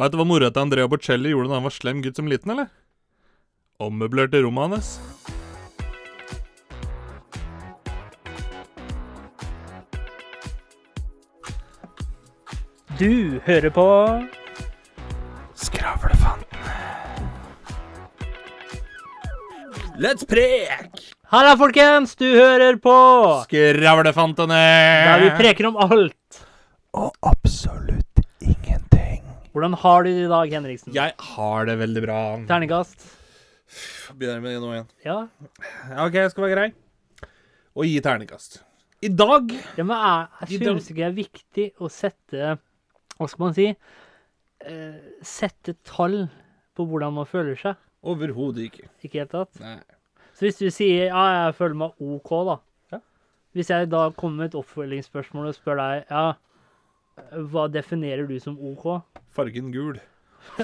Veit du hva mora til Andrea Bocelli gjorde da han var slem gutt som liten, eller? Ommøblerte rommet hans. Du hører på Skravlefanten. Let's prek! Halla, folkens! Du hører på Skravlefantene! der Eh. vi preker om alt. Og absolutt ingenting. Hvordan har du det i dag, Henriksen? Jeg har det veldig bra. Terningkast? Begynner med det nå igjen. Ja. Ja, OK, jeg skal være grei. Og gi terningkast. I dag ja men jeg, jeg I dag- synes ikke det er viktig å sette Hva skal man si? Eh, sette tall på hvordan man føler seg. overhodet ikke. Ikke helt tatt. Nei. Så hvis du sier ja, jeg føler meg OK, da. Ja. Hvis jeg da kommer med et oppfølgingsspørsmål og spør deg ja, hva definerer du som OK? Fargen gul.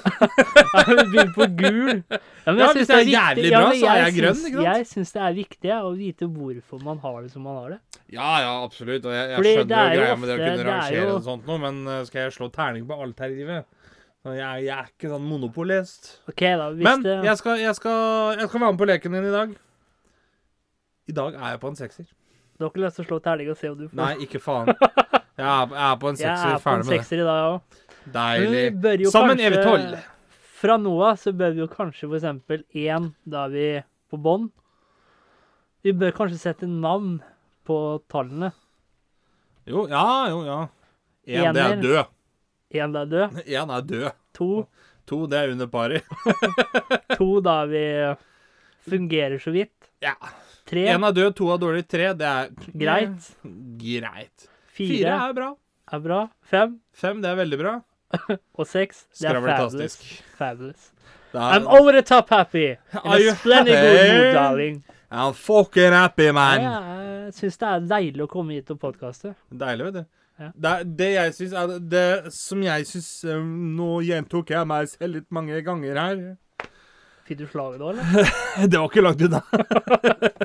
Begynn på gul. Ja, men Ja, synes hvis det er viktig- jævlig ja, bra, men så er jeg syns- grønn, ikke sant? Jeg syns det er viktig jeg, å vite hvorfor man har det som man har det. Ja, ja, absolutt. Og jeg, jeg Fordi det skjønner er jo jo greia med det å ofte- kunne det er rangere jo- og sånt noe, men eh, skal jeg slå terning på alt her i livet? Så Jeg, jeg er ikke sånn monopolist. OK, da. Hvis Men det jeg skal, jeg, skal, jeg skal være med på leken din i dag. I dag er jeg på en sekser. Du har ikke lyst til å slå terning og se om du får Nei, ikke faen. Jeg er, jeg er på en Jeg sekser. er på en Ferdig med det. sekser i dag òg. Men vi bør Deilig. jo Sammen kanskje- er vi tolv. Fra nå av så bør vi jo kanskje for eksempel én, da er vi på bånn. Vi bør kanskje sette navn på tallene. Jo, ja, jo, ja. Én, det er Ener. død. Én da er død. Én er død. To, To, det er under pari. to da er vi fungerer så vidt. Ja. Tre, Én er død, to er dårlig, tre, det er greit. Greit. Fire Fire er bra. er bra. Fem Fem, det er veldig bra. og seks, det er fabulous. Skravletastisk. fabulous. Det I'm er over the top happy. Are In you a splendid good mood, happy? darling. I'm fucking happy, man. Jeg syns det er deilig å komme hit og podkaste. Deilig, vet du. Ja. Det, er- det jeg syns er Det som jeg syns Nå gjentok jeg meg selv litt mange ganger her. Fikk du slaget da, eller? Det var ikke langt unna.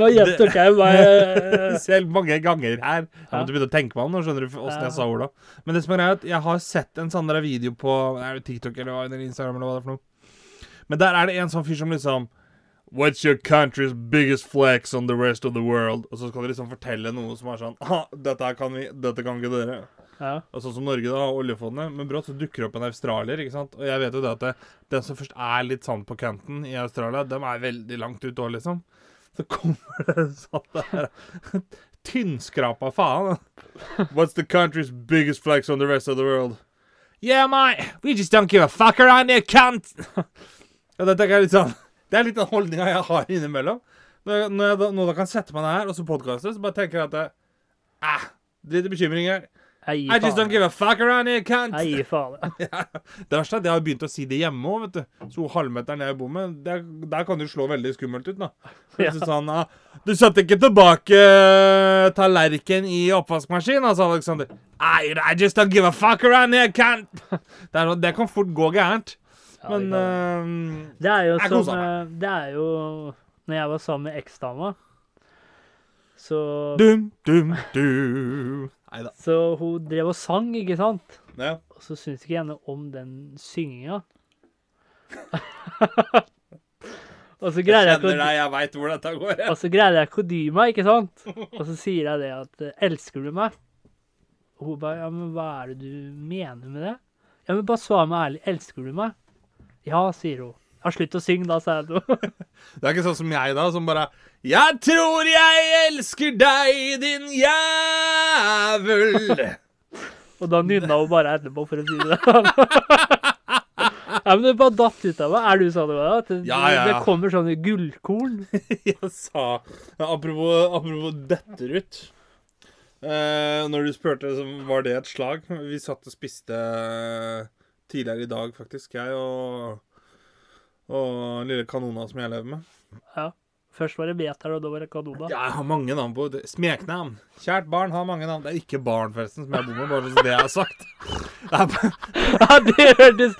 Nå gjentok jeg meg Selv mange ganger her. Jeg Ja. måtte begynne å tenke meg om nå, skjønner du åssen jeg sa orda. Men det som er greia, er at jeg har sett en sånn der video på er det TikTok eller hva, eller Instagram eller hva det er for noe. Men der er det en sånn fyr som liksom What's your country's biggest flex on the rest of the world? Og så skal de liksom fortelle noe som er sånn Ha, dette her kan vi, dette kan ikke dere. ja. Og sånn som Norge da, har oljefondet, men brått så dukker det opp en australier. ikke sant? Og jeg vet jo det at det, den som først er litt sånn på kanten i Australia, dem er veldig langt ute òg, liksom. Så kommer det en sånn der tynnskrapa faen. What's the country's biggest flex on the rest of the world? Yeah, mate, we just don't give a fuck around here, cunt! ja, det tenker jeg litt sånn, det er litt den holdninga jeg har innimellom. Når jeg, når jeg da, nå da kan sette meg ned her og så podkaste, så bare tenker jeg at det- eh, Drit i bekymringer. I Jeg gir just don't faen. give a fuck around here, cunt! Jeg gir faen. Det verste er at jeg har begynt å si det hjemme òg, vet du. Så halvmeteren jeg bor med, der, der kan det jo slå veldig skummelt ut, da. Ja. Ja. Sånn, ah, du satte ikke tilbake eh, tallerken i oppvaskmaskinen, altså, Alexander. I, I just don't give a fuck around here, cunt! Det, er, sånn- det kan fort gå gærent. Ja, det Men kan- eh, Det er jo Jeg koser som eh, Det er jo Når jeg var sammen med eksdama, så ehm, Dum, dum, du. Nei da. Så hun drev og sang, ikke sant? Ja. Og så syns ikke jeg noe om den synginga. og så greier jeg ikke å jeg veit hvor dette går. Og så greide jeg ikke å dy meg, ikke sant? Og så sier jeg det at eh, Elsker du meg? Og hun bare Ja, men hva er det du mener med det? Ja, men bare svar meg ærlig. Elsker du meg? Ja, sier hun. Ja, slutt å synge, da, sa jeg til henne. Det er ikke sånn som jeg da, som bare Jeg tror jeg elsker deg, din jævel. Og da nynna hun bare etterpå, for å si det sånn. Ja, men det bare datt ut av meg. Er du sånn? Ola, At det, Ja, ja, ja. det kommer sånne gullkorn. jeg sa ja, Apropos, apropos detter ut. Eh, når du spurte, så var det et slag. Vi satt og spiste eh, tidligere i dag, faktisk. Jeg og, og lille kanona som jeg lever med. Ja. Først var det meter, og da var det kanoner. Ja, jeg har mange navn på Smeknavn. Kjært barn har mange navn. Det er ikke barn, forresten, som jeg bor med, bare så det er sagt. Det er, Ja, det hørtes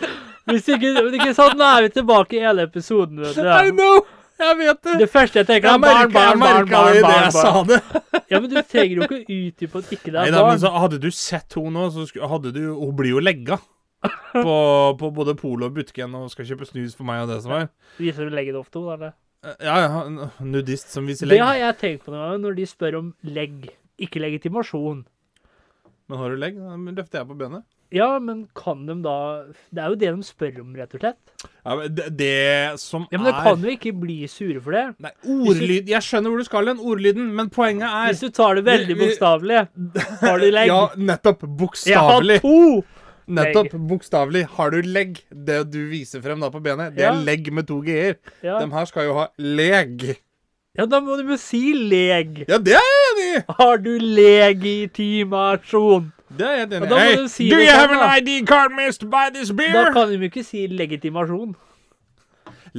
Hvis ikke, ikke sant, nå er vi tilbake i hele episoden, vet du. I know! Jeg vet det! Det første jeg tenker, er Jeg barn, merka barn, barn, barn, det idet barn, jeg sa barn. det. Ja, men du trenger jo ikke å utdype at ikke det er Neida, men barn. så hadde du sett henne nå, så sku- hadde du Hun blir jo legga. på, på både polet og butikken og skal kjøpe snus for meg og det som er. Eh, Viser du leggen ofte? Ola, eller? Ja, ja, en nudist som viser Det legg. har jeg tenkt på noen ganger når de spør om legg. Ikke legitimasjon. Men har du legg, da løfter jeg på benet. Ja, men kan de da Det er jo det de spør om, rett og slett. Ja, men det, det som Ja, Men de er kan jo ikke bli sure for det. Nei, ordlyd Jeg skjønner hvor du skal hen, ordlyden, men poenget er Hvis du tar det Vi- veldig vi- bokstavelig, har du legg. Ja, nettopp. jeg har Bokstavelig. to! Nettopp. Bokstavelig. Har du legg, det du viser frem da på benet, det Ja. er legg med to g-er. Ja. De her skal jo ha leg. ja, da må du jo si leg. Ja, det er jeg enig i! Har du legitimasjon? Det er jeg helt enig Ja, da må i. du si do det you sånn, have an da. ID card, missed by this Da beer? kan de jo ikke si legitimasjon.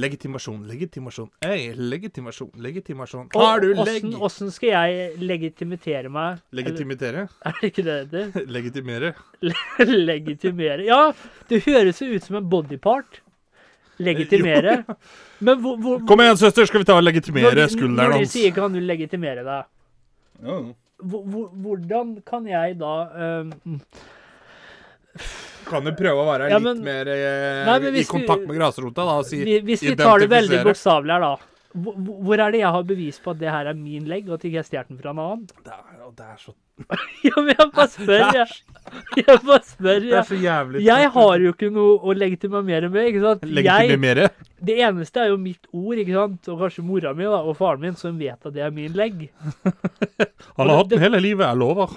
Legitimasjon, legitimasjon. Ei, legitimasjon, legitimasjon. Og Har du legg? åssen- Åssen skal jeg legitimitere meg? Legitimitere? Eller, er det ikke det det heter? Legitimere? Legitimere Ja, det høres jo ut som en bodypart. Legitimere. Men hvor, hvor Kom igjen, søster, skal vi ta og når legitimere de- skulderen Når de hans? sier 'kan du legitimere deg', Ja. hvor, hvor, hvordan kan jeg da eh, Kan jo prøve å være Ja, litt men- mer eh, Nei, men i hvis vi- kontakt med grasrota, da, og si vi- Hvis vi tar det veldig identifisere. bokstavelig her, da. Hvor, hvor er det jeg har bevis på at det her er min legg, og at ikke jeg stjal den fra en annen? Det er, og det er så, Ja, men jeg bare spør, jeg. Jeg bare spør, det er jeg. så jævlig Jeg har jo ikke noe å legitimere med, ikke sant? Jeg, Legitimere? det eneste er jo mitt ord, ikke sant? Og kanskje mora mi da, og faren min, som vet at det er min legg. Han har hatt den hele livet, jeg lover.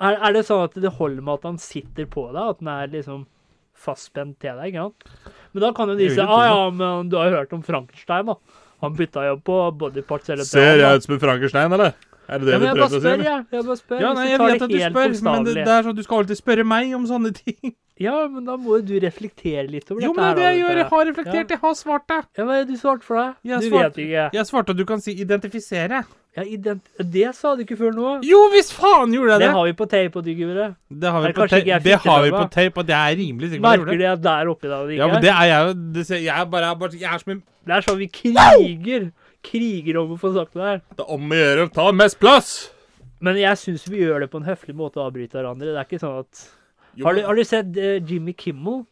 Er, er det sånn at det holder med at han sitter på deg, at den er liksom fastspent til deg, ikke sant? Men da kan jo de Jeg si, vil jo sånn.» ah tro ja, men du har jo hørt om Frankenstein, da. Han bytta jo på bodyparts hele Ser da. jeg ut som en Frankenstein, eller? Er det det Ja, men du jeg bare prøvde å si? spør, jeg. Jeg bare spør. Ja, Hvis nei, du jeg tar vet det at du helt spør, men det, bokstavelig. det er sånn at du skal alltid spørre meg om sånne ting. Ja, men da må jo du reflektere litt over Jo, men det er dette det jeg da, gjør. vet Jeg har reflektert. Jeg har svart deg. Ja, hva er det du svarte for deg? Jeg du svarte- vet ikke. Jeg svarte at du kan si 'identifisere'. Ja, ident det sa du ikke før nå. Jo visst faen gjorde jeg Det det! har vi på tape og dyggere. Det har vi Nei, på, kanskje ikke ta jeg det fikk det har vi med på meg. tape, og det er rimelig sikkert jeg Merker gjorde det. de at der oppe i dag det Ja, ikke men er? det er jeg jo det ser- Jeg er bare, jeg er bare jeg er som en Det er sånn vi kriger. Kriger om å få sagt det her. Det er om å gjøre å ta mest plass! Men jeg syns vi gjør det på en høflig måte og avbryter hverandre. Det er ikke sånn at Jo, Har du, har du sett eh, Jimmy Kimmel?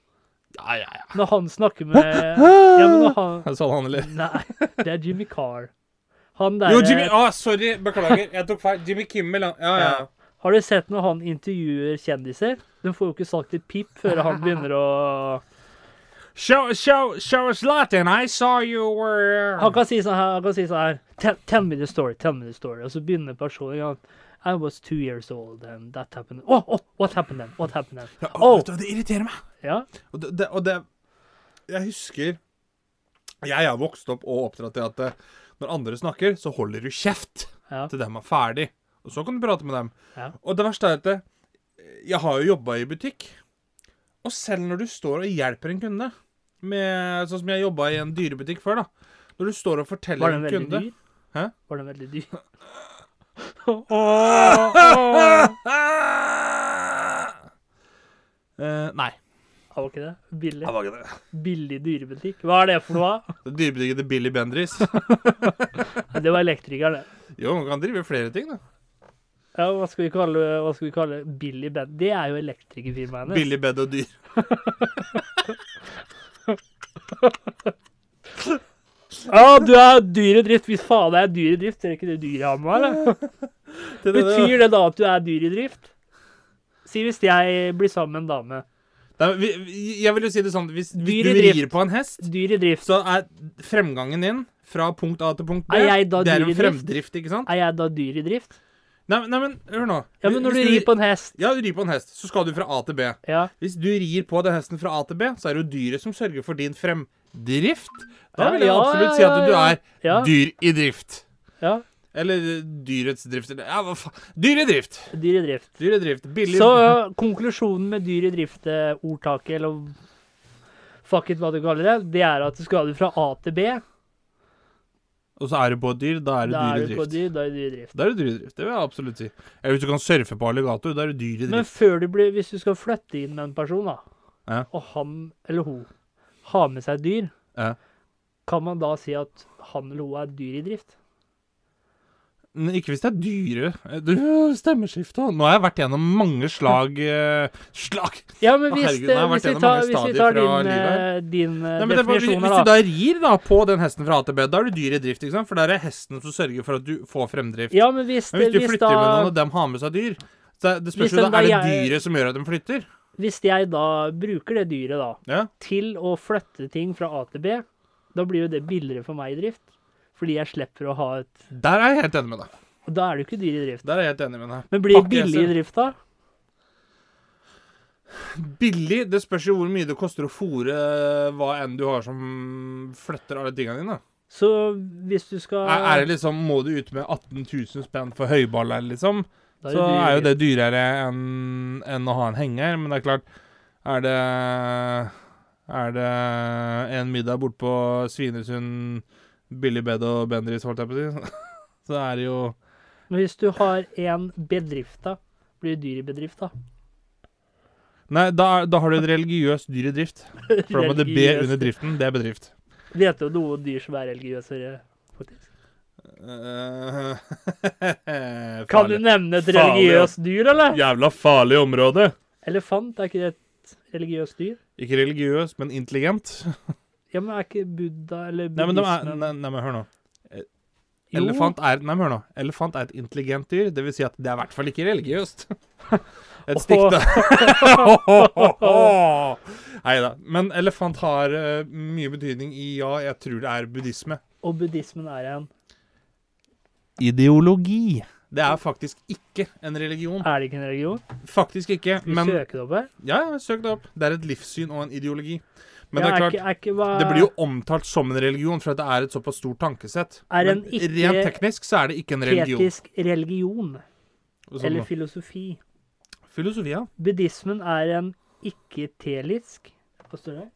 Ja, ja, ja. Når han snakker med Ja, men når han Det er Sånn han ler. Nei, det er Jimmy Carr. Han der eh, Jo, Jimmy ah, Sorry, beklager. Jeg tok feil. Jimmy Kimmel, han- ja. ja. Ja. Har du sett når han intervjuer kjendiser? De får jo ikke sagt et pip før han begynner å Show, show, show us Latin. I saw you were Han kan si sånn her, han kan si sånn her tell, tell me the story, tell me the story. Og så begynner personen igjen. I was two years old and that happened. Oh, oh, what happened then? What happened then? ja, Åh. vet du hva, Det irriterer meg. Ja, Og det, det, og det Jeg husker Jeg har vokst opp og oppdratt til at eh, når andre snakker, så holder du kjeft ja, til dem er ferdig. Og så kan du prate med dem. Ja. Og det verste er at eh, jeg har jo jobba i butikk. Og selv når du står og hjelper en kunde med, Sånn som jeg jobba i en dyrebutikk før, da. Når du står og Var forteller den en veldig kunde dyr? Hæ? Var den veldig dyr? Åh, åh. Eh, nei. Ja, var ikke det? Billig. Det var ikke det. Billig dyrebutikk. Hva er det for noe? Det Dyrebutikken til Billy Bendriss. Ja, Det var elektriker, det. Jo, man kan drive flere ting, da. Ja, hva skal vi kalle, hva skal vi kalle Billy Ben? Det er jo elektrikerfirmaet hennes. Billy bed og dyr. Ja, du er dyr i drift. Hvis faen det er dyr i drift, er det ikke det dyret han var? eller? Betyr det da at du er dyr i drift? Si hvis jeg blir sammen med en dame. Nei, men vi- vi- Jeg vil jo si det sånn Hvis hvis Dyr du i drift. rir på en hest, Dyr i drift. så er fremgangen din fra punkt A til punkt B Er jeg da Det er dyr i en drift? fremdrift, ikke sant? Er jeg da dyr i drift? Nei, men- nei, men hør nå. Ja, men når du Hvis rir på en hest Ja, du rir på en hest, så skal du fra A til B. Ja, Hvis du rir på den hesten fra A til B, så er det jo dyret som sørger for din fremdrift. Da Ja, vil jeg ja, absolutt ja, si at du ja, er ja, dyr i drift. ja. Eller eh, dyrets drift eller Ja, hva faen. Dyr i drift. Dyr i drift. Dyr i drift. Billig Så ø, konklusjonen med dyr i drift-ordtaket, eller fuck it hva du kaller det, det er at skal du fra A til B, Og så er du på et dyr, da er du da dyr er i du på drift. dyr, da er du dyr i drift. Da er du dyr i drift, det vil jeg absolutt si. Eller hvis du kan surfe på alligator, da er du dyr i Men drift. før du blir, hvis du skal flytte inn med en person, da, Ja. og han eller hun har med seg dyr, Ja. kan man da si at han eller hun er dyr i drift? N- Ikke hvis det er dyre eh, Du, stemmeskifte og Nå har jeg vært gjennom mange slag eh, Slag! Ja, men Å, hvis, herregud, nå har jeg eh, hvis, vært vi gjennom tar, mange hvis stadier vi tar fra din, eh, din Nei, eh, men det, er bare- hvis, definisjon her, hvis du da. da rir da på den hesten fra A til B, da er du dyr i drift, ikke sant? For der er hesten som sørger for at du får fremdrift. Ja, men hvis, Men hvis du hvis, flytter med noen, da, og dem har med seg dyr så er- Det spørs Hvis jo den da, er da det jeg- dyret som gjør at de flytter? hvis jeg da bruker det dyret da, Ja. til å flytte ting fra A til B, da blir jo det billigere for meg i drift. Fordi jeg slipper å ha et Der er jeg helt enig med deg. Og da er det jo ikke dyr i drift. Der er jeg helt enig med deg. Men blir det Pakkehester. billig i drift da? Billig, det spørs jo hvor mye det koster å fôre hva enn du har som flytter alle tingene dine. Så hvis du skal Er, er det liksom, Må du ut med 18 000 spenn for høyballer, liksom? da så dyr i er jo drift. det dyrere enn enn å ha en henger, men det er klart Er det Er det en middag borte på Svinesund, Billy Bed og Bendriss, holdt jeg på å si, så er det jo Men hvis du har en bedrift da, blir det dyr i bedrift da? Nei, da, da har du en religiøs dyr i drift. For da må det be Religiøs. under driften. Det er bedrift. Vet du noen dyr som er religiøse? faktisk? Eh, Kan farlig. du nevne et Farlig, ja. religiøst dyr, eller? Jævla farlig område. Elefant, er ikke det et religiøst dyr? Ikke religiøs, men intelligent. Ja, men er ikke Buddha eller Nei, men, de er, buddhismen nei, nei, men hør nå. Jo, Elefant er, nei, men hør nå. Elefant er et intelligent dyr, det vil si at det er i hvert fall ikke religiøst. Et stikk, da. Nei da. Men elefant har eh, mye betydning i ja, jeg tror det er buddhisme. Og buddhismen er en Ideologi. Det er faktisk ikke en religion. Er det ikke en religion? Faktisk ikke. Skal vi Men søke det opp her? ja, ja, søk det opp. Det er et livssyn og en ideologi. Men Ja, det er klart, ikke, eh, er ikke, hva, det blir jo omtalt som en religion, for at det er et såpass stort tankesett. Er en Men ikke rent teknisk så er det ikke en religion. etisk religion Og sånn eller da. filosofi. Filosofi, ja. Buddhismen er en ikke-telisk Hva står det?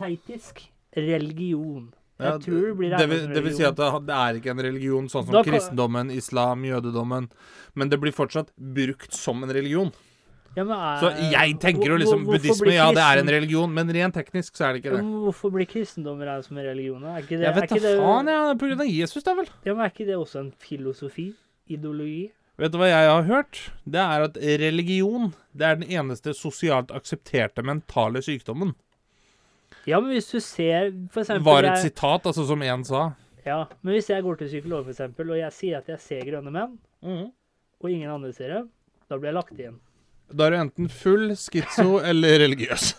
Teitisk religion. Jeg Ja, tror det blir det, vil, regnet som det vil si religion. at det, det er ikke en religion, sånn som Da kan- kristendommen, islam, jødedommen. Men det blir fortsatt brukt som en religion. Ja, men er, Så jeg tenker jo Eh, hvor- liksom hvor- hvorfor Buddhisme, blir ja, det er kristen- en religion, men rent teknisk så er det ikke Ja, det. men Hvorfor blir kristendom regnet som en religion? da? Er ikke det, Jeg er vet ikke da det, faen, ja. På grunn av Jesus, da vel. ja, men er ikke det også en filosofi? Ideologi? Vet du hva jeg har hørt? Det er at religion det er den eneste sosialt aksepterte mentale sykdommen. Ja, men hvis du ser for eksempel, Var et jeg- sitat, altså, som én sa. Ja, men hvis jeg går til psykolog, for eksempel, og jeg sier at jeg ser grønne menn, Mm. og ingen andre ser det, da blir jeg lagt inn. Da er du enten full, schizo eller religiøs.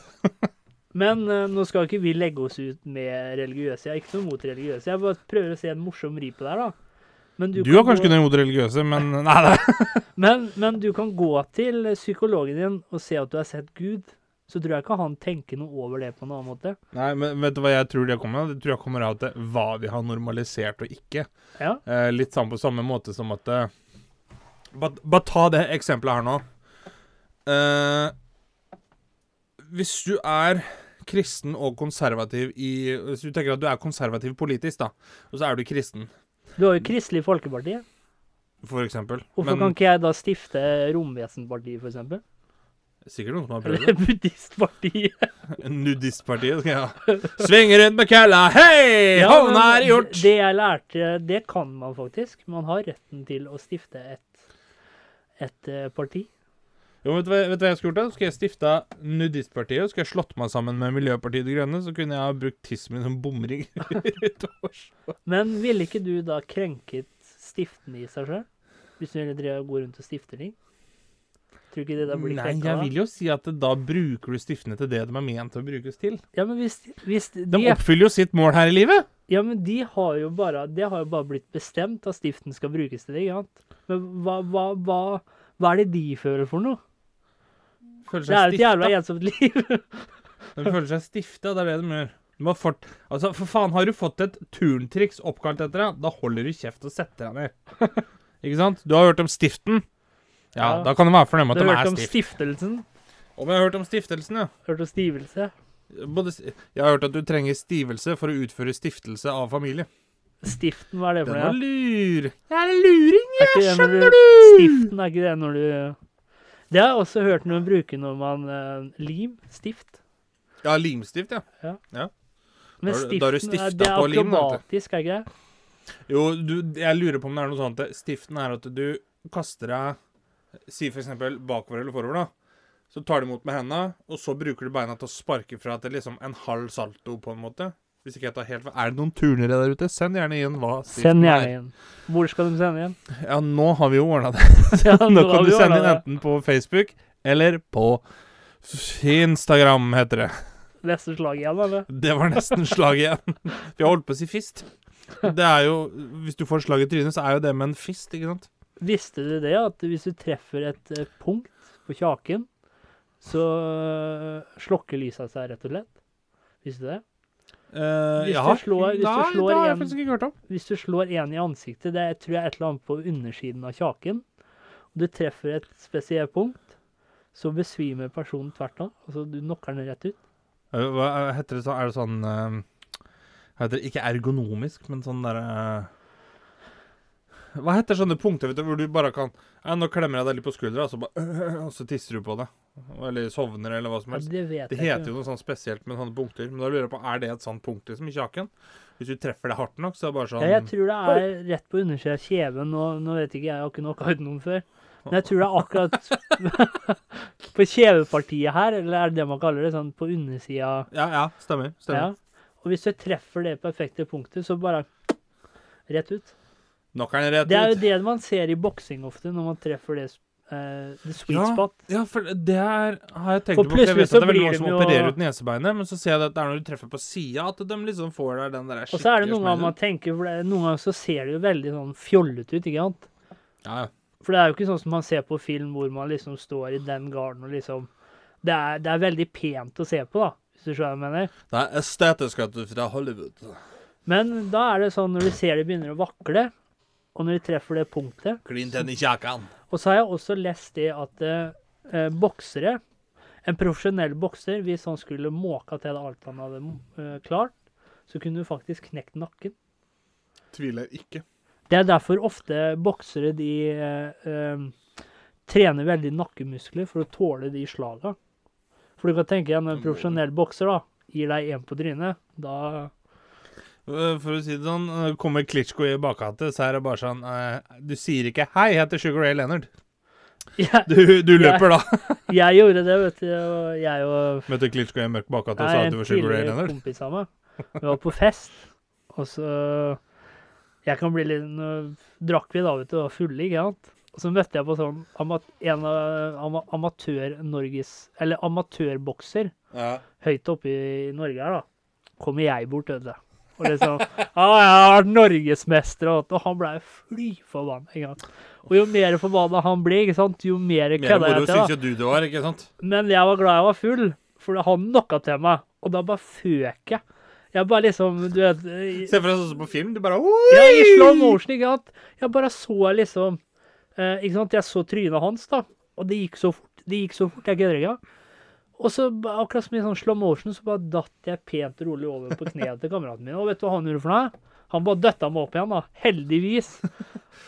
Men eh, nå skal ikke vi legge oss ut med religiøse. Jeg har ikke noe mot religiøse. Jeg bare prøver å se en morsom ri på der, da. Men Du, kan har kanskje gå, ikke noe imot religiøse, men Nei, nei. men, men du kan gå til psykologen din og se at du har sett Gud. Så tror jeg ikke han tenker noe over det på en annen måte. Nei, men vet du hva jeg tror det kommer av? Det tror jeg kommer av til hva vi har normalisert og ikke. Ja. Eh, litt sammen på samme måte som at eh, Bare bare ta det eksempelet her nå. Eh, hvis du er kristen og konservativ i Hvis du tenker at du er konservativ politisk, da, og så er du kristen, Du har jo Kristelig Folkeparti. for eksempel Hvorfor kan ikke jeg da stifte Romvesenpartiet, for eksempel? Sikkert noen som har prøvd det. Eller Buddhistpartiet? Nudistpartiet skal jeg ha. Sving rundt med kølla, hei! Ja, men Hånda er i hjort! Det jeg lærte, det kan man faktisk. Man har retten til å stifte et, et eh, parti. Jo, vet du, hva, vet du hva jeg skulle gjort da? Skulle jeg stifta Nudistpartiet, og skulle jeg slått meg sammen med Miljøpartiet De Grønne, så kunne jeg ha brukt tissen min som bomring utovers. Men ville ikke du da krenket stiftene i seg sjøl? Hvis du ville drive og gå rundt og stifte ting? Tror ikke det da blir Nei, krenka? jeg da? vil jo si at da bruker du stiftene til det de er ment å brukes til. Ja, men hvis, hvis de, De oppfyller jo sitt mål her i livet. ja, men de har jo bare Det har jo bare blitt bestemt at stiften skal brukes til det, ikke sant? Men hva, hva, hva, hva er det de føler for noe? Føler Det er jo et stiftet. jævla ensomt liv. De føler seg stifta, det er det de gjør. De har fått, altså, for faen, har du fått et turntriks oppkalt etter deg, da holder du kjeft og setter deg ned. Ikke sant? Du har hørt om Stiften? Ja, Ja. da kan det være for dem Du at har de hørt er om stift. stiftelsen? Om jeg har hørt om Stiftelsen, ja. Hørt om stivelse? Både, sti- jeg har hørt at du trenger stivelse for å utføre stiftelse av familie. Stiften, hva er det Den for var noe? lur. Jeg er en luring, Er ikke det når du- Stiften er ikke det når du Det har jeg også hørt noen bruke når man eh, Lim. Stift. Ja, limstift, ja. Men Da har du- da har du stiften er, stiftet det er på lim, da, vet du. akrobatisk, er ikke det? Jo, du, jeg lurer på om det er noe sånt at Stiften er at du kaster deg Si for eksempel bakover eller forover, da. Så tar du imot med hendene, og så bruker du beina til å sparke fra til liksom en halv salto, på en måte. Hvis ikke jeg tar helt feil. Er det noen turnere der ute? Send gjerne inn hva Send gjerne er. inn. Hvor skal de sende inn? Ja, nå har vi jo ordna det. Ja, Nå har kan du vi sende inn ordnet enten på Facebook eller på Instagram, heter det. det. Neste slag igjen, eller? Det var nesten slag igjen. Vi har holdt på å si fist. Det er jo, Hvis du får slag i trynet, så er jo det med en fist, ikke sant? Visste du det, at hvis du treffer et eh, punkt på kjaken, så eh, slokker lysa seg rett og slett? Visste du det? Eh, Hvis du ja. slår- hvis du Nei, slår det har jeg igjen- faktisk ikke hørt om. Hvis du slår en i ansiktet, det er, tror jeg er et eller annet på undersiden av kjaken, og du treffer et spesielt punkt, så besvimer personen tvert av. Altså, du knocker den rett ut. Eh, Hva eh, heter det så? Er det sånn eh, heter det, Ikke ergonomisk, men sånn derre Hva heter sånne punkter vet du, hvor du bare kan ja, Nå klemmer jeg deg litt på skuldra, og så bare Og så tisser du på det. Eller sovner, eller hva som Ja, helst. det vet Det jeg heter jo noe sånn spesielt med sånne punkter. Men da lurer jeg på, er det et sånt punkt liksom i kjaken? Hvis du treffer det hardt nok, så er det bare sånn Ja, jeg tror det er rett på undersida av kjeven. Og nå vet ikke jeg, jeg har ikke knocka ut noen før. Men jeg tror det er akkurat på kjevepartiet her, eller er det det man kaller det? Sånn på undersida. Ja, ja, stemmer. Ja. stemmer. Og hvis du treffer det perfekte punktet, så bare rett ut. Knockeren rett ut. Det er jo det man ser i boksing ofte, når man treffer det, eh, the sweet Ja, spot. Ja, for det er, har jeg tenkt For på. for Jeg plutselig vet at så det er veldig blir mange som de jo- opererer ut nesebeinet, men så ser jeg at det er når du treffer på sida, at de liksom får der den der Og så er det noen ganger smellen. man tenker for det, Noen ganger så ser det jo veldig sånn fjollete ut, ikke sant? Ja, ja. For det er jo ikke sånn som man ser på film, hvor man liksom står i den garden og liksom Det er, det er veldig pent å se på, da, hvis du skjønner hva jeg mener. Det er estetisk at du fra Hollywood. Men da er det sånn når du ser det begynner å vakle, og når de treffer det punktet Klin tenn i kjakan. Og så har jeg også lest det at eh, eh, boksere En profesjonell bokser, hvis han skulle måka til alt han hadde eh, klart, så kunne du faktisk knekt nakken. Tviler ikke. Det er derfor ofte boksere de eh, eh, trener veldig nakkemuskler for å tåle de slaga. For du kan tenke deg når en profesjonell bokser da, gir deg én på trynet, da For å si det sånn, øh, kommer Klitsjko i bakhatet, så er det bare sånn øh, Du sier ikke 'Hei, jeg heter Sugar Ray Leonard'. jeg, Du, du løper da. jeg gjorde det, vet du. og Jeg og Møtte Klitsjko i en mørk bakhate og Nei, sa at en du var Sugar Ray tidligere Leonard. kompis av meg. Vi var på fest, og så Jeg kan bli litt Nå drakk vi da, vet du, og var fulle, ikke sant? Og så møtte jeg på sånn ama en av ama amatør-Norges Eller amatørbokser Ja. høyt oppe i Norge her, da. Kommer jeg bort, vet du. Og liksom Ja, jeg har vært norgesmester, og alt», og han blei fly forbanna. ikke sant? Og jo mer forbanna han blir, ikke sant, jo mer Mer kødda moro jeg til. da. syns jo du det var, ikke sant? Men jeg var glad jeg var full, for han knocka til meg. Og da bare føk jeg. Jeg bare liksom Du vet i- Se for deg sånn som på film. Du bare ja, I slow motion, ikke sant? Jeg bare så liksom eh, Ikke sant? Jeg så trynet hans, da. Og det gikk så fort. Det gikk så fort, jeg kødder ikke. Og så ba- akkurat som i sånn slow motion, så bare datt jeg pent og rolig over på kneet til kameraten min. Og vet du hva han gjorde for noe? Han bare døtta meg opp igjen, da. Heldigvis.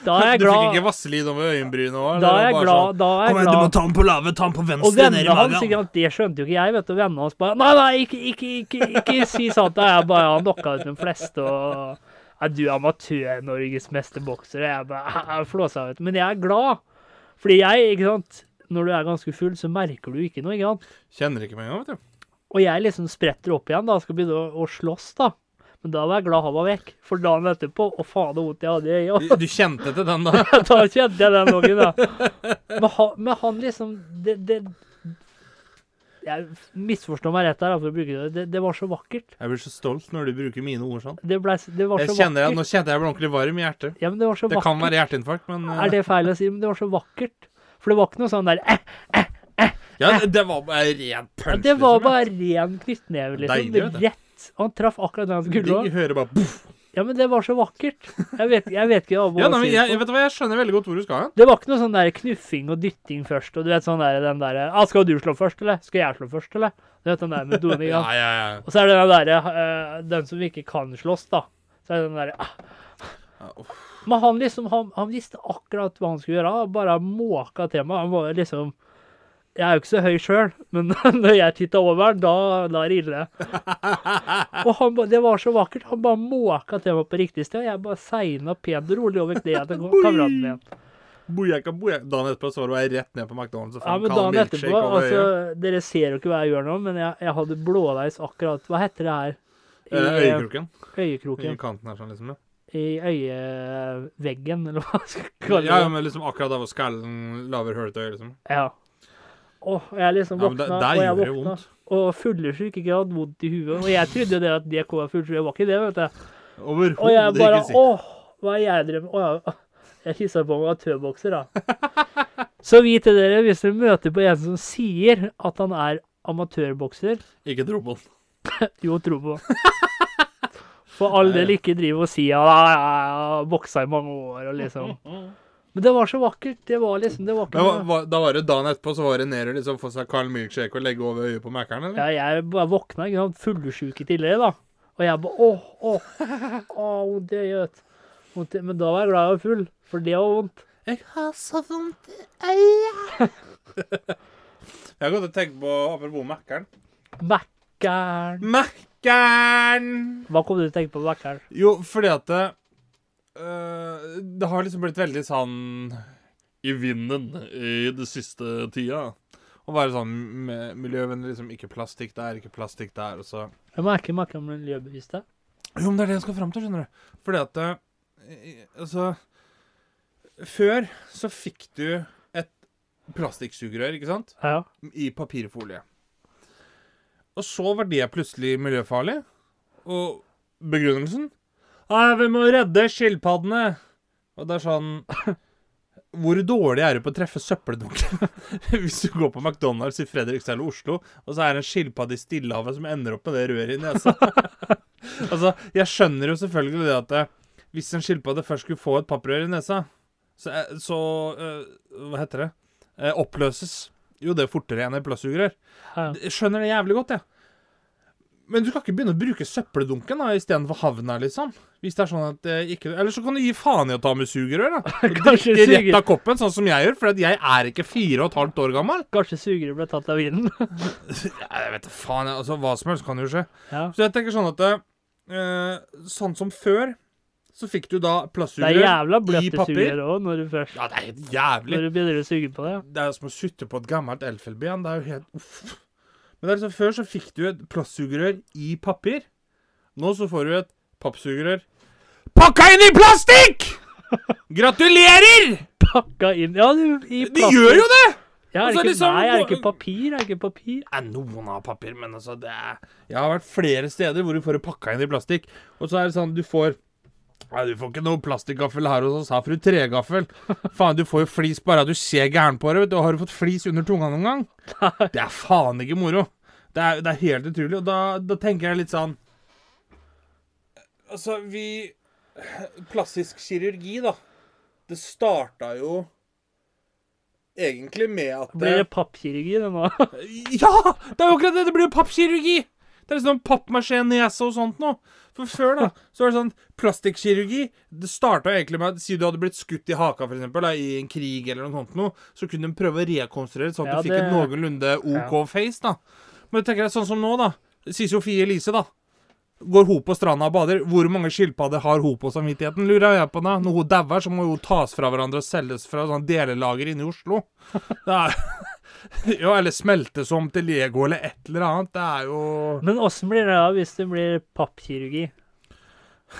Da er jeg Du fikk ikke glad. vasselyd over øyenbrynet òg? Da er jeg sånn? glad. Da er jeg glad. ta den på lave, ta den på Og vennene hans, ikke sant, det skjønte jo ikke jeg, vet du. Vennene hans bare Nei, nei, ikke, ikke, ikke, ikke si sånt. Da jeg bare han knocka ut de fleste og Er du amatør-Norges meste bokser? Og jeg bare jeg flåsa ut. Men jeg er glad. Fordi jeg, ikke sant Når du er ganske full, så merker du ikke noe, ikke sant. Kjenner ikke meg engang, vet du. Og jeg liksom spretter opp igjen, da. Skal begynne å, å slåss, da. Men da var jeg glad han var vekk. For dagen etterpå Å, faen, så vondt jeg hadde i øyet. Du- Du kjente til den, da? Da kjente jeg den loggen, da. Men han, men han liksom det, det Jeg misforstår meg rett her, da, for å bruke det. det. Det var så vakkert. Jeg blir så stolt når du bruker mine ord sånn. Det, ble, det var Jeg så kjenner jeg, vakkert. Nå kjente jeg ble ordentlig varm i hjertet. Ja, men det var så Det vakkert. kan være hjerteinfarkt, men eh, Er det feil å si? Men det var så vakkert. For det var ikke noe sånn der eh, ja, det- Det var bare ren ja, punch. Det liksom, var ja. bare ren knyttneve, liksom. Deilig, vet du. rett. Og han traff akkurat den han skulle Digg, òg. hører bare boff. Ja, men det var så vakkert. Jeg vet, jeg vet ikke Ja, hva jeg nei, må men si. jeg, det jeg på. vet du hva, jeg skjønner veldig godt hvor du skal hen. Det var ikke noe sånn der knuffing og dytting først, og du vet sånn der, den derre ah, 'Skal du slå først, eller? Skal jeg slå først, eller?' Du vet den der med doen, ikke sant? Ja, ja, ja. Og så er det den derre Den som ikke kan slåss, da. Så er det den derre ah. Ja, Men han liksom, han, han visste akkurat hva han skulle gjøre. Han bare måka til meg. Han var liksom Jeg er jo ikke så høy sjøl, men når jeg titta over den, da, da er det ille. Og han, ba- det var så vakkert. Han bare måka til meg på riktig sted. og Jeg bare segna pent og rolig over kneet til kameraten min. Bojaka, bojaka. Dagen etterpå så var jeg rett ned på McDonald's og Ja, fant men kald dagen milkshake etterpå, over altså, øyet. Dere ser jo ikke hva jeg gjør nå, men jeg, jeg hadde blåveis akkurat Hva heter det her? I Eh, øyekroken. Øyekroken. I kanten her, sånn liksom. ja. I øyeveggen, eller hva skal jeg kalle det. Ja, men liksom akkurat der hvor skallen lager hull til øyet, liksom. Ja. Åh, jeg liksom Ja, men våkna, der- der og jeg gjør det våkna. vondt. Og fyllesyk, ikke sant, vondt i huet. Og jeg trodde jo det at det kom av fyllesyk, jeg var ikke det, vet du. Og jeg Overhodet bare ikke sikkert. åh, hva er jeg drev med? Åh, ja. Jeg kissa på meg av tøbokser, da. Så vit til dere, hvis dere møter på en som sier at han er amatørbokser, Ikke tro på den. jo, tro på. For all del ikke drive og si at «Nei, jeg har boksa i mange år, og liksom. Men det var så vakkert. Det var liksom det var ikke Men hva, noe- hva, da var det dagen etterpå, så var det ned og liksom få seg kald milkshake og legge over øyet på Mækkern, eller? Ja, jeg bare våkna, ikke sant, fullsjuk i tillegg, da. Og jeg bare åh, åh, åh, vondt i øyet. Vondt i- Men da var jeg glad jeg var full, for det var vondt. Jeg har så vondt i øyet. jeg har gått og tenkt på apropos Mækkern. Mækkern. Mækkern! Hva kom du til å tenke på med Mækkern? Jo, fordi at det, øh, det har liksom blitt veldig sånn i vinden i det siste tida. Å være sånn med miljøvennlig, liksom ikke plastikk der, ikke plastikk der, og så Jeg merker Mækkern blir miljøbevisst. da. Jo, men det er det jeg skal fram til, skjønner du. Fordi at eh, Altså Før så fikk du et plastikksugerør, ikke sant? Ja. I papirfolie. Og så var det plutselig miljøfarlig. Og begrunnelsen? Nei, vi må redde skilpaddene. Og det er sånn Hvor dårlig er du på å treffe søppeldunken? Hvis du går på McDonald's i Fredrikstad eller Oslo, og så er det en skilpadde i Stillehavet som ender opp med det røret i nesa. altså, jeg skjønner jo selvfølgelig det at eh, hvis en skilpadde først skulle få et papprør i nesa, så, eh, så eh, Hva heter det? Eh, oppløses jo det fortere enn et plastsugerør. Ja. Jeg skjønner det jævlig godt, jeg. Men du skal ikke begynne å bruke søppeldunken da, istedenfor havna, liksom. Hvis det er sånn at eh, ikke... Eller så kan du gi faen i å ta med sugerør, da. Kanskje Ikke rett sugerøret av koppen, sånn som jeg gjør, for at jeg er ikke fire og et halvt år gammel. suger ble tatt av vinden. Jeg vet da faen, jeg. Altså, hva som helst kan jo skje. Ja. Så jeg tenker sånn at eh, Sånn som før, så fikk du da Det er plastsugerør jævla i bløtte papir. sugerør òg, når du først Ja, det er helt når jævlig. du begynner å suge på det. Det er jo som å sutte på et gammelt elfelben. Det er jo helt uff. Men det er liksom, før så fikk du et plastsugerør i papir. Nå så får du et pappsugerør pakka inn i plastikk! Gratulerer! Pakka inn Ja, du, i Du gjør jo det! Ja, er det Altså, ikke, liksom- nei, er det ikke papir? Er det ikke papir? Nei, noen har papir, men altså det er Jeg har vært flere steder hvor du får det pakka inn i plastikk. Og så er det sånn, du får Nei, du får ikke noe plastikgaffel her hos oss, her fru tregaffel. Faen, du får jo flis bare du ser gæren på det, vet du. Og Har du fått flis under tunga noen gang? Det er faen ikke moro. Det er, det er helt utrolig. Og da, da tenker jeg litt sånn Altså, vi Plastisk kirurgi, da. Det starta jo egentlig med at Blir det pappkirurgi, det nå? ja! Det er jo akkurat det! Det blir jo pappkirurgi! Det er liksom pappmasjé-nese og sånt noe. For før, da, så var det sånn plastikkirurgi. Det starta egentlig med at si du hadde blitt skutt i haka, for eksempel, da, i en krig eller noe sånt noe, så kunne de prøve å rekonstruere sånn at Ja, du fikk det- et noenlunde OK face, da. Men tenker jeg sånn som nå, da. Sier Sofie Elise, da. Går hun på stranda og bader? Hvor mange skilpadder har hun på samvittigheten, lurer jeg på da? Når hun dauer, så må hun tas fra hverandre og selges fra sånn delelager inne i Oslo. Det er ja, eller smeltes om til Lego eller et eller annet. Det er jo Men åssen blir det da hvis det blir pappkirurgi?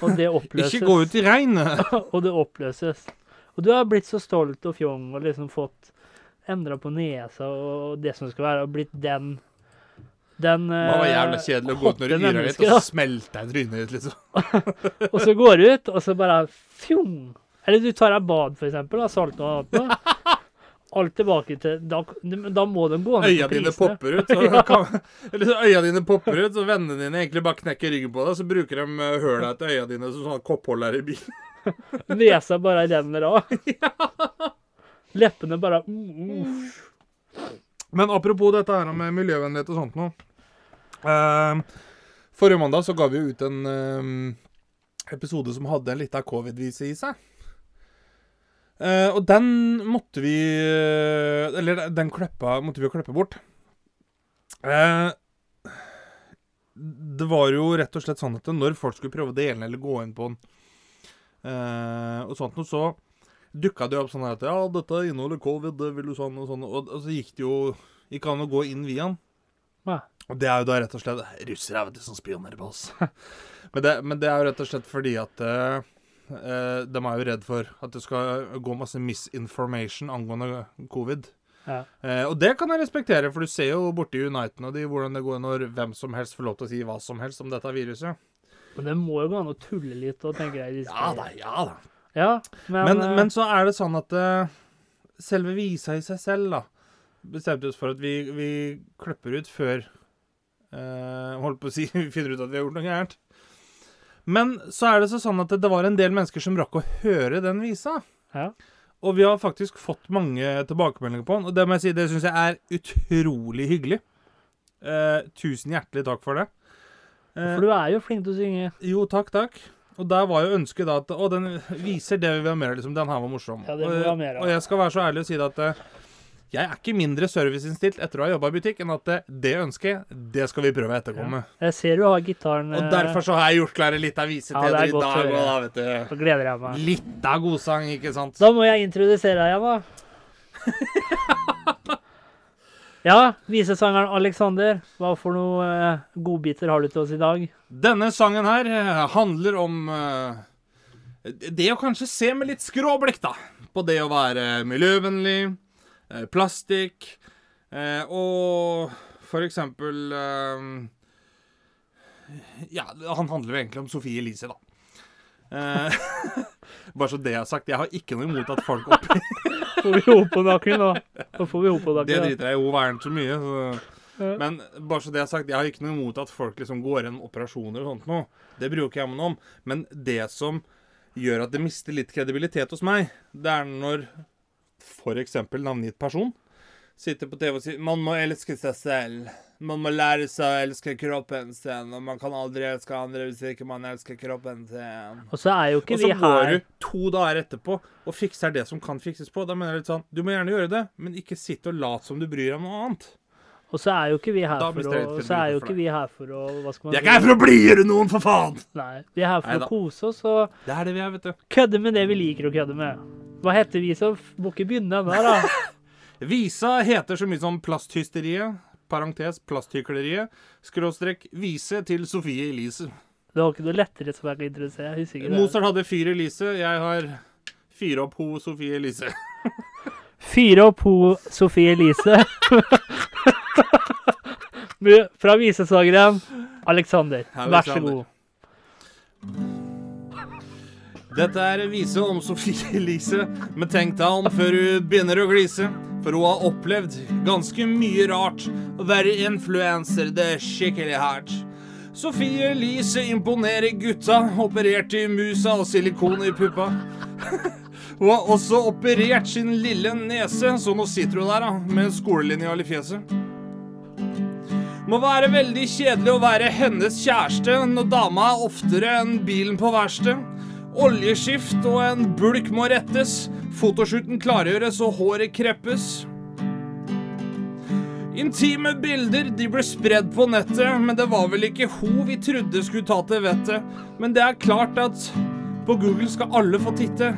Og det oppløses. Ikke gå ut i regnet! og det oppløses. Og du har blitt så stolt og fjong og liksom fått endra på nesa og det som skal være, og blitt den den Det var eh, jævla kjedelig å gå ut når hotte du yrer litt, mennesket, og så da. smelter jeg trynet ditt, liksom. Og så går du ut, og så bare fjong. Eller du tar deg bad, for eksempel. Da, salt og annet. Alt tilbake til Da, men da må den gå ned Øya på dine prisene. popper ut, så kan, eller så øya dine popper ut, så vennene dine egentlig bare knekker ryggen på deg, så bruker de eh, høla til øya dine som sånne koppholdere i bilen. Nesa bare renner av. Leppene bare mm, mm. Men apropos dette her med miljøvennlighet og sånt noe. Eh, forrige mandag så ga vi jo ut en eh, episode som hadde en liten covid-vise i seg. Eh, og den måtte vi eh, Eller den kleppa måtte vi jo kleppe bort. Eh, det var jo rett og slett sånn at når folk skulle prøve å dele den eller gå inn på den, eh, og sånt noe, så dukka det jo opp sånn her at Ja, dette inneholder covid, det vil du sånn og sånn. Og, og så gikk det jo Gikk an å gå inn via den. Ja. Og det er jo da rett og slett Russere er vet du som spionerer på oss. men, det, men det er jo rett og slett fordi at eh, eh, de er jo redd for at det skal gå masse misinformation angående covid. Ja. Eh, og det kan jeg respektere, for du ser jo borti Uniten og de hvordan det går når hvem som helst får lov til å si hva som helst om dette viruset. Men det må jo gå an å tulle litt og tenke deg disse ja da. Ja, men, Men, eh, men så er det sånn at eh, selve visa i seg selv, da, bestemte oss for at vi, vi klipper ut før eh, Holdt på å si vi finner ut at vi har gjort noe gærent. Men så er det så sånn at det var en del mennesker som rakk å høre den visa. Ja. Og vi har faktisk fått mange tilbakemeldinger på den, og det må jeg si, det syns jeg er utrolig hyggelig. Eh, tusen hjertelig takk for det. Eh, For du er jo flink til å synge. jo, takk, takk. Og der var jo ønsket da at Å, den viser det vi vil ha mer av. Liksom, den her var morsom. Ja, det Og- må vi ha mer av. Og jeg skal være så ærlig og si det at eh, jeg er ikke mindre serviceinnstilt etter å ha jobba i butikk enn at eh, det ønsket, det skal vi prøve å etterkomme. Jeg ser du har gitaren. Og eh, derfor så har jeg gjort klar en lita vise til Ja, det er dere i godt å dag høre. og da, vet du. Så gleder jeg meg. Litt av godsang, ikke sant? Da må jeg introdusere deg igjen, da. ja, visesangeren Alexander. Hva for noe eh, godbiter har du til oss i dag? Denne sangen her eh, handler om eh, det å kanskje se med litt skråblikk, da. På det å være miljøvennlig, eh, plastikk eh, og for eksempel eh, Ja, han handler jo egentlig om Sofie Elise, da. Eh, bare så det er sagt. Jeg har ikke noe imot at folk opp Får vi hop på nakken nå? Nå får vi hop på Det nakken. da. driter jeg i, hun verner så mye. Så. Ja. Men bare så det er sagt, jeg har ikke noe imot at folk liksom går gjennom operasjoner og sånt noe. Det bryr jo ikke jeg meg noe om. Men det som gjør at det mister litt kredibilitet hos meg, det er når f.eks. navngitt person sitter på TV og sier 'Man må elske seg selv'. Man må lære seg å elske kroppen sin, og man kan aldri elske andre hvis ikke man elsker kroppen sin. Og så er jo ikke Og så vi går her du to dager etterpå og fikser det som kan fikses på. Da mener jeg litt sånn Du må gjerne gjøre det, men ikke sitt og lat som du bryr deg om noe annet. Og så er jo ikke vi her Da for mister å jeg litt og så er jo kredibilitet for ikke deg. vi her for å Hva skal man Jeg er ikke her for å blidgjøre noen, for faen! Nei, vi er her for Neida. å kose oss og Det er det vi er, vet du. kødde med det vi liker å kødde med. Hva heter vi som f- må ikke begynne ennå, da? Visa heter så mye som Plasthysteriet. Parentes plasthykleriet. Skråstrek vise til Sofie Elise. Det var ikke noe lettere som jeg kan introdusere. Jeg husker ikke det. Mozart hadde fyr Elise. Jeg har fyre opp ho Sofie Elise. Fyre opp ho Sofie Elise. Med- Fra visesangeren Alexander. Vær så Alexander. god. Dette er en vise om Sofie Elise, men tenk deg om før hun begynner å glise. For hun har opplevd ganske mye rart. Å være influenser, det er skikkelig hardt. Sofie Elise imponerer gutta, opererte i musa og silikon i puppa. Hun har også operert sin lille nese, så nå sitter hun der da, med en skolelinjal i fjeset. Må være veldig kjedelig å være hennes kjæreste når dama er oftere enn bilen på verksted. Oljeskift og en bulk må rettes. Fotoshooten klargjøres og håret kreppes. Intime bilder de ble spredd på nettet, men det var vel ikke ho vi trodde skulle ta til vettet. Men det er klart at på Google skal alle få titte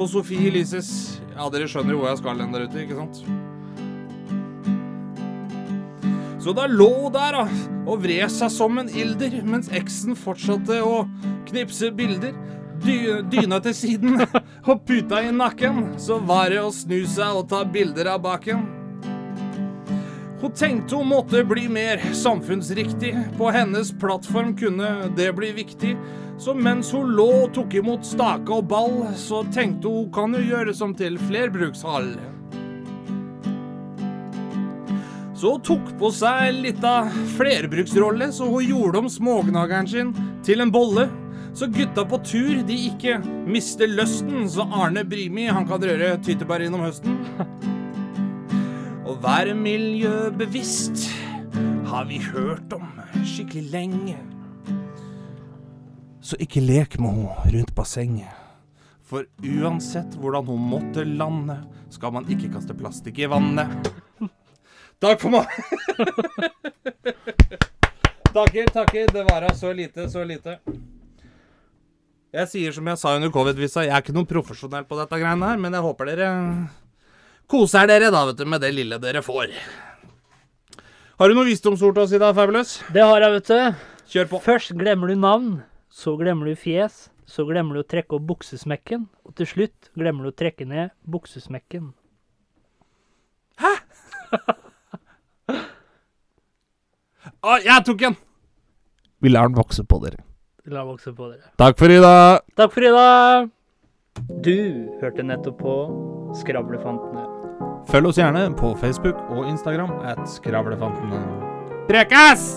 på Sofie Elises Ja, dere skjønner jo hvor jeg skal hen der ute, ikke sant? Så da lå hun der da, og vred seg som en ilder, mens eksen fortsatte å knipse bilder. Dy dyna til siden og puta i nakken, så var det å snu seg og ta bilder av baken. Hun tenkte hun måtte bli mer samfunnsriktig. På hennes plattform kunne det bli viktig. Så mens hun lå og tok imot stake og ball, så tenkte hun kan jo gjøre som til flerbrukshall. Så hun tok på seg litt av flerbruksrolle, så hun gjorde om smågnageren sin til en bolle. Så gutta på tur, de ikke mister lysten, så Arne Brimi, han kan røre tyttebær innom høsten. Å være miljøbevisst har vi hørt om skikkelig lenge. Så ikke lek med henne rundt bassenget. For uansett hvordan hun måtte lande, skal man ikke kaste plastikk i vannet. Takk for meg! takker, takker. Det vara så lite, så lite. Jeg sier som jeg sa under covid-visa, jeg er ikke noen profesjonell på dette greiene her, men jeg håper dere koser dere da, vet du, med det lille dere får. Har du noe visdomsord til oss i dag, Fabulous? Det har jeg, vet du. Kjør på. Først glemmer du navn, så glemmer du fjes, så glemmer du å trekke opp buksesmekken, og til slutt glemmer du å trekke ned buksesmekken. Å, jeg tok en! Vi lar den vokse på dere. La meg også på dere. Takk for i dag. Takk for i dag! Du hørte nettopp på Skravlefantene. Følg oss gjerne på Facebook og Instagram at Skravlefantene. Prekas!